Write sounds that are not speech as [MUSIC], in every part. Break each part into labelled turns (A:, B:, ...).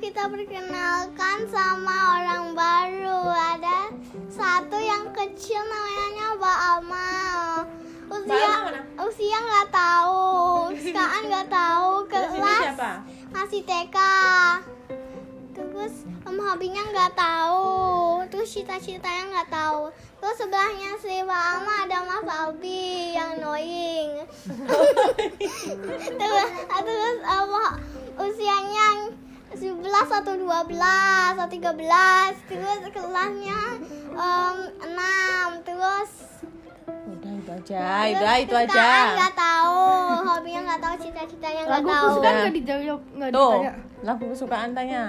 A: kita perkenalkan sama orang baru. Ada satu yang kecil namanya Mbak Amal.
B: Mbak
A: Usia
B: Amal mana?
A: usia nggak tahu, sekarang nggak tahu
B: Terus ini
A: kelas
B: siapa?
A: masih TK. Terus em, hobinya nggak tahu, terus cita-citanya nggak tahu. Terus sebelahnya si Mbak Amal ada Mas Albi yang
B: [LAUGHS]
A: knowing. terus terus apa usianya yang 11 atau 12 atau 13 terus kelasnya em, 6 terus
B: Udah itu aja,
A: terus
B: udah Nah, itu aja.
A: ceritaan nggak tahu hobinya nggak tahu cita-citanya nggak
C: Lagu
A: tahu
C: kesukaan nggak dijawab nggak
B: Tuh,
C: ditanya.
B: lagu kesukaan tanya.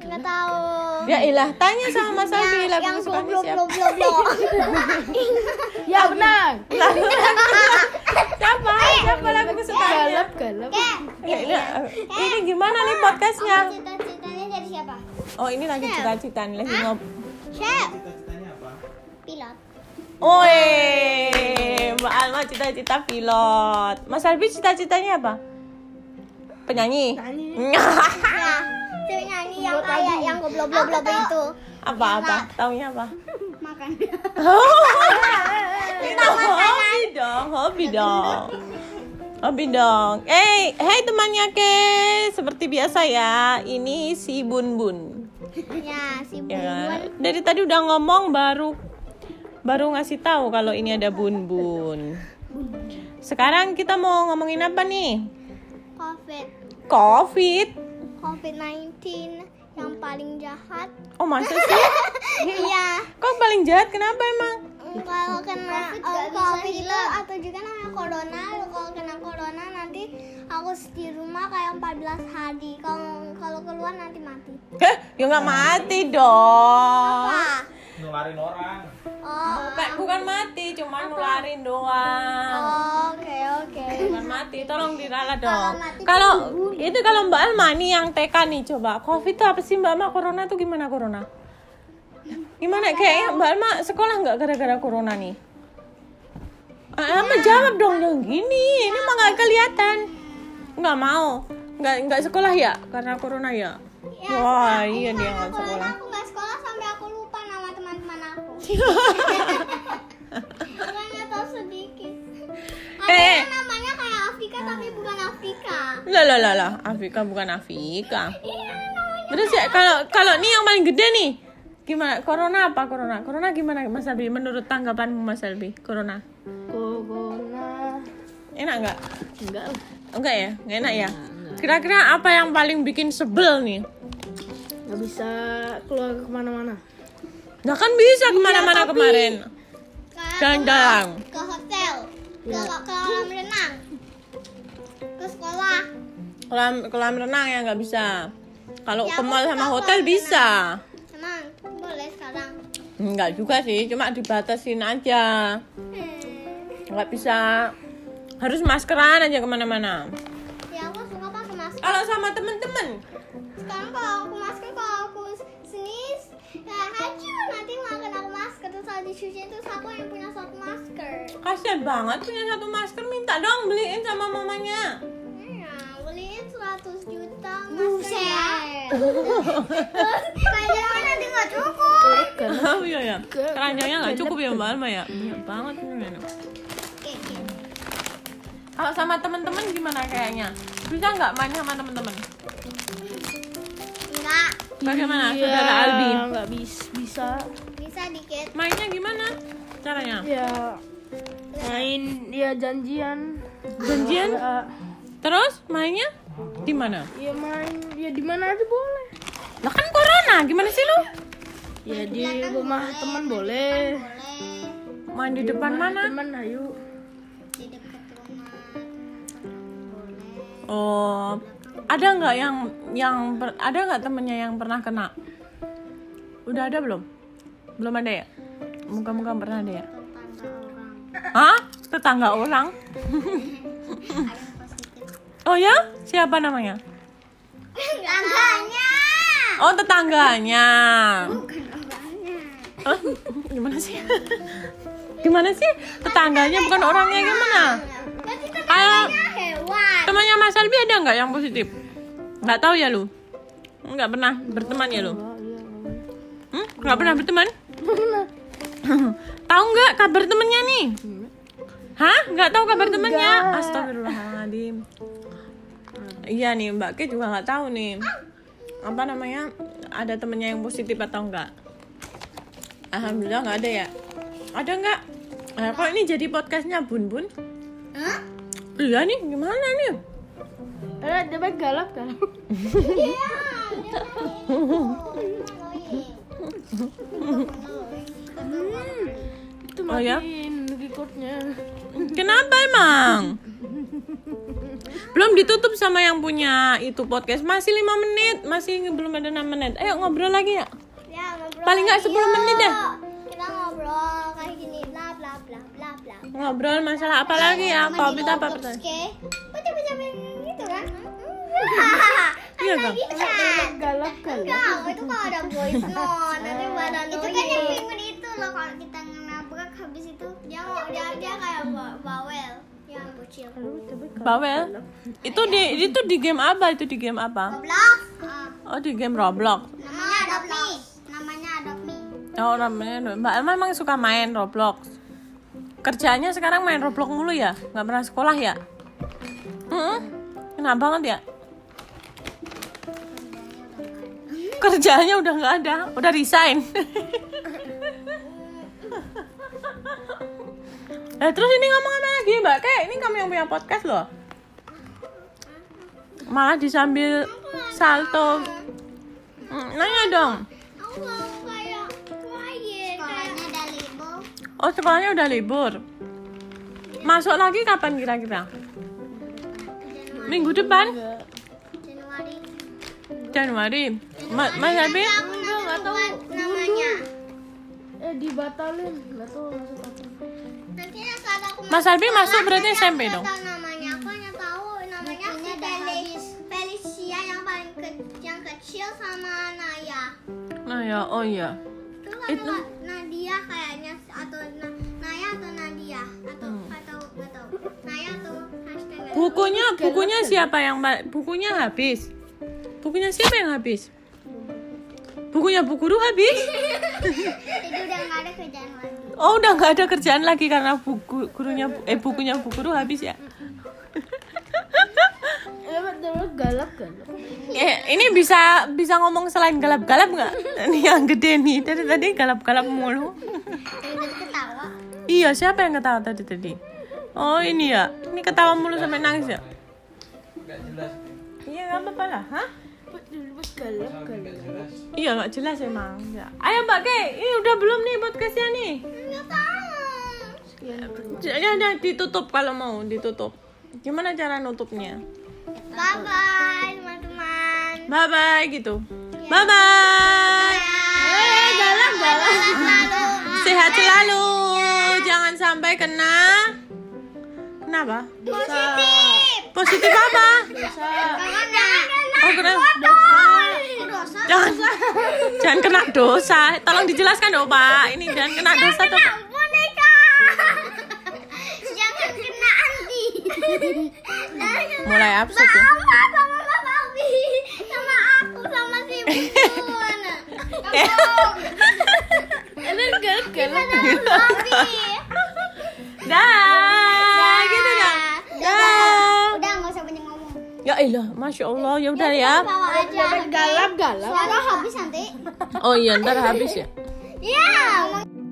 A: nggak tahu
B: Ya ilah, tanya sama Mas Albi lagu
A: Oh. yang blok
B: kesukaannya
A: blok
B: siapa?
A: blok blok blok
C: Ya benar.
B: [LAUGHS] Siapa? Siapa lagu kesukaannya?
C: Galap galap.
A: eh
B: Ya, ini, ini gimana nih podcastnya?
A: apa cita-citanya dari siapa
B: Oh ini lagi cita-cita nih, lagi ngob.
A: chef pilot
B: Oi, Mbak Alma cita-cita pilot. Mas Albi cita-citanya apa? Penyanyi.
A: ya cewek nyanyi yang kayak yang goblok blok blok itu
B: apa apa? Taunya apa?
A: makan
B: Kita hobi dong, hobi dong. Hobi dong. Eh, hey temannya ke, seperti biasa ya. Ini si Bun Bun.
A: ya si
B: Ya
A: Bunbun
B: kan? Dari tadi udah ngomong baru baru ngasih tahu kalau ini ada Bun Bun. Sekarang kita mau ngomongin apa nih?
A: covid
B: Covid.
A: covid 19 yang paling jahat
B: Oh masa sih?
A: iya
B: Kok paling jahat kenapa emang?
A: kalau kena eh, covid itu atau juga namanya corona kalau kena corona nanti harus di rumah kayak 14 hari kalau kalau keluar nanti mati
B: Heh, ya nggak mati dong.
A: wah
D: nularin orang
A: oh
B: Bukan, bukan mati, cuma nularin doang.
A: oke oke
B: Bukan mati, tolong diralat dong.
A: mati
B: Kalau itu kalau Mbak Alma nih yang TK nih coba. Covid itu apa sih Mbak Alma? Corona tuh gimana corona? Gimana kayaknya Mbak Alma sekolah nggak gara-gara corona nih? Mbak Alma jawab dong yang gini. Ini mah nggak kelihatan. Nggak mau. Nggak nggak sekolah ya karena corona ya. Wah, iya dia nggak sekolah.
A: aku nggak sekolah sampai aku lupa nama teman-teman aku Orangnya tahu sedikit ada
B: Eh.
A: yang namanya kayak Afrika tapi bukan Afrika
B: [LAUGHS] Lah lah lah lah, Afika bukan Afika.
A: iya namanya
B: Terus ya kalau kalau nih yang paling gede nih gimana? Corona apa corona? Corona gimana Mas Albi? Menurut tanggapanmu Mas Albi, corona
C: Corona.
B: enak nggak?
C: Enggak lah.
B: Enggak ya, nggak enak ya. Kira-kira apa yang paling bikin sebel nih?
C: Nggak bisa keluar kemana-mana.
B: Nah kan bisa
A: Iya,
B: kemana-mana kemarin.
A: Kayak
B: Jalan-jalan.
A: ke hotel ke ke kolam renang ke sekolah
B: Kolam kolam renang ya nggak bisa. Kalau
A: Ya,
B: ke
A: aku
B: mall
A: suka
B: sama
A: kolam
B: hotel
A: renang.
B: bisa.
A: emang boleh sekarang
B: Enggak juga sih, cuma dibatasin aja.
A: hmm.
B: Nggak bisa. Harus maskeran aja kemana-mana.
A: ya aku suka pakai masker
B: Kalau sama temen-temen,
A: sekarang kalau aku masker kalau aku sneeze ya hancur nanti nggak kena aku masker terus harus dicuci terus aku yang punya satu masker
B: Kasian banget punya satu masker minta dong beliin sama mamanya.
A: Iya, beliin 100 juta masker ya terus keranjangnya nanti nggak cukup
B: Oh [LAUGHS] iya ya. Keranjangnya nggak cukup ya Mbak Alma ya. Banyak banget ini.
A: Oke, oke.
B: Kalau sama temen-temen gimana kayaknya? Bisa nggak main sama temen-temen?
A: nggak
B: Bagaimana
C: Iya,
B: saudara Albi?
C: Nggak bis bisa.
A: bisa dikit
B: Mainnya gimana? Caranya?
C: Ya main ya janjian.
B: Janjian?
C: Ya,
B: Terus mainnya di mana?
C: ya main ya di mana aja boleh.
B: Lah kan corona, gimana sih lu?
C: Ya di rumah teman boleh.
A: boleh
B: Main di depan mana?
C: Teman ayo.
A: di dekat rumah teman-teman boleh
B: Oh, ada nggak yang yang per- ada nggak temennya yang pernah kena? Udah ada belum? Belum ada ya? Muka-muka pernah ada ya?
A: tetangga orang
B: Hah? Ha? Tetangga orang?
A: ada yang positif
B: Oh ya? Siapa namanya?
A: tetangganya
B: Oh tetangganya.
A: bukan orangnya
B: Hah? Gimana sih? [LAUGHS] Gimana sih? Tetangganya bukan orangnya gimana?
A: berarti
B: Kalau
A: tetangganya hewan
B: temannya Mas Albi ada nggak yang positif? Nggak tahu ya lu? Nggak pernah berteman ya lu?
C: Oh, iya, boleh.
B: Hmm? Nggak pernah berteman?
C: Mana?
B: Tahu nggak kabar temennya nih? Hah? Nggak tahu kabar temennya? Astagfirullahaladzim. Iya nih Mbak Ki juga nggak tahu nih. Apa namanya? Ada temennya yang positif atau enggak? Alhamdulillah nggak ada ya. Ada nggak? Eh, kok ini jadi podcastnya Bun Bun?
A: Hah?
B: Iya nih, gimana nih?
C: Eh, dia baik galak galak.
A: Iya, dia kan
C: Itu
B: Oh, ya?
C: matiin recordnya.
B: Kenapa emang? Belum ditutup sama yang punya itu podcast. Masih 5 menit, masih belum ada 6 menit. Ayo ngobrol lagi ya.
A: Ya, ngobrol.
B: Paling nggak 10 menit deh.
A: Kita ngobrol kayak gini bla bla bla bla bla.
B: Ngobrol masalah apa lagi ya? Apa kita apa pertanyaan?
A: Oke. Baca baca gitu kan? [LAUGHS]
B: Iya, Bang.
A: Lagi kan?
C: Galak galak.
A: Enggak, itu kalau ada [LAUGHS] voice note nanti pada Itu kan yang minggu itu loh kalau kita nabrak habis itu dia mau dia dia kayak ba- bawel yang bocil.
B: Bawel. Itu di itu di game apa? Itu di game apa?
A: Roblox. Ah,
B: Oh, di game Roblox.
A: namanya Adopt Me. Namanya Adopt Me.
B: Oh, namanya Mbak Elma emang suka main Roblox. Kerjaannya sekarang main Roblox mulu ya? Nggak pernah sekolah ya? Mm-mm. Kenapa banget ya? Kerjaannya udah nggak ada, udah resign. [LAUGHS] eh terus ini ngomong apa lagi Mbak? Kayak ini kamu yang punya podcast loh. Malah disambil salto. Mm, Nanya dong.
A: Aku mau kayak quiet. Sekolahnya ada libur.
B: Oh sekolahnya udah libur. Masuk lagi kapan kira-kira? Minggu depan?
A: Januari.
B: Januari. Ma- Mas Abi?
A: Aku nggak tahu namanya.
C: Eh dibatalin. Enggak tahu maksud apa.
A: Nanti saat aku
B: Mas Abi masuk berarti SMP
A: Aku
B: dong.
A: nggak tahu namanya. Aku hanya tahu namanya si Felis, Felicia yang paling ke- yang kecil sama Naya.
B: Nah ya, oh iya.
A: Itu kan
B: Itu-
A: Wa- Nadia kayaknya atau Na- Naya atau Nadia atau atau nggak tahu. Naya atau hashtag. nggak tahu.
B: Bukunya bukunya siapa yang ma- bukunya habis? Bukunya siapa yang habis? Bukunya Bu Guru habis?
A: Jadi udah nggak ada kerjaan lagi.
B: Oh udah nggak ada kerjaan lagi karena buku gurunya eh bukunya Bu Guru habis ya? [LAUGHS]
C: Eh, betul galak galak.
B: Eh, ini bisa bisa ngomong selain galap-galap nggak? [LAUGHS] Ini yang gede nih dari tadi galap-galap mulu.
A: Jadi tadi ketawa.
B: Iya, siapa yang ketawa tadi tadi? Oh, ini ya. Ini ketawa mulu sampai nangis ya? Iya, nggak apa-apa lah. Hah?
C: Betul galak galak.
B: Iya, nggak jelas emang. Ya. Ayo Mbak Kay, ini udah belum nih podcastnya nih?
A: Nggak tahu.
B: Ya, ya, ditutup kalau mau, ditutup. Gimana cara nutupnya?
A: Bye bye teman-teman.
B: Bye-bye gitu. Bye-bye.
A: Eh, galak galak. Selalu.
B: Sehat selalu. Jangan sampai kena... Kenapa?
A: Positif.
B: Positif apa?
A: Corona.
B: Oh, kena...
A: Kok dosa?
B: jangan jangan kena dosa tolong dijelaskan dong pak ini jangan kena dosa dong Pak.
A: Boneka. Jangan kena anti. Jangan kena
B: mulai absurd ya
A: Mama sama Mas Albi. Sama aku sama si Bun.
B: Eh,
C: Ini galak galak.
B: dah gitu dong dah
A: Nah. Udah nggak usah banyak ngomong.
B: ya ilah masya allah ya udah ya
A: Bawa aja.
C: Galak galak.
A: Soalnya habis nanti.
B: oh iya ntar habis ya
A: Iya.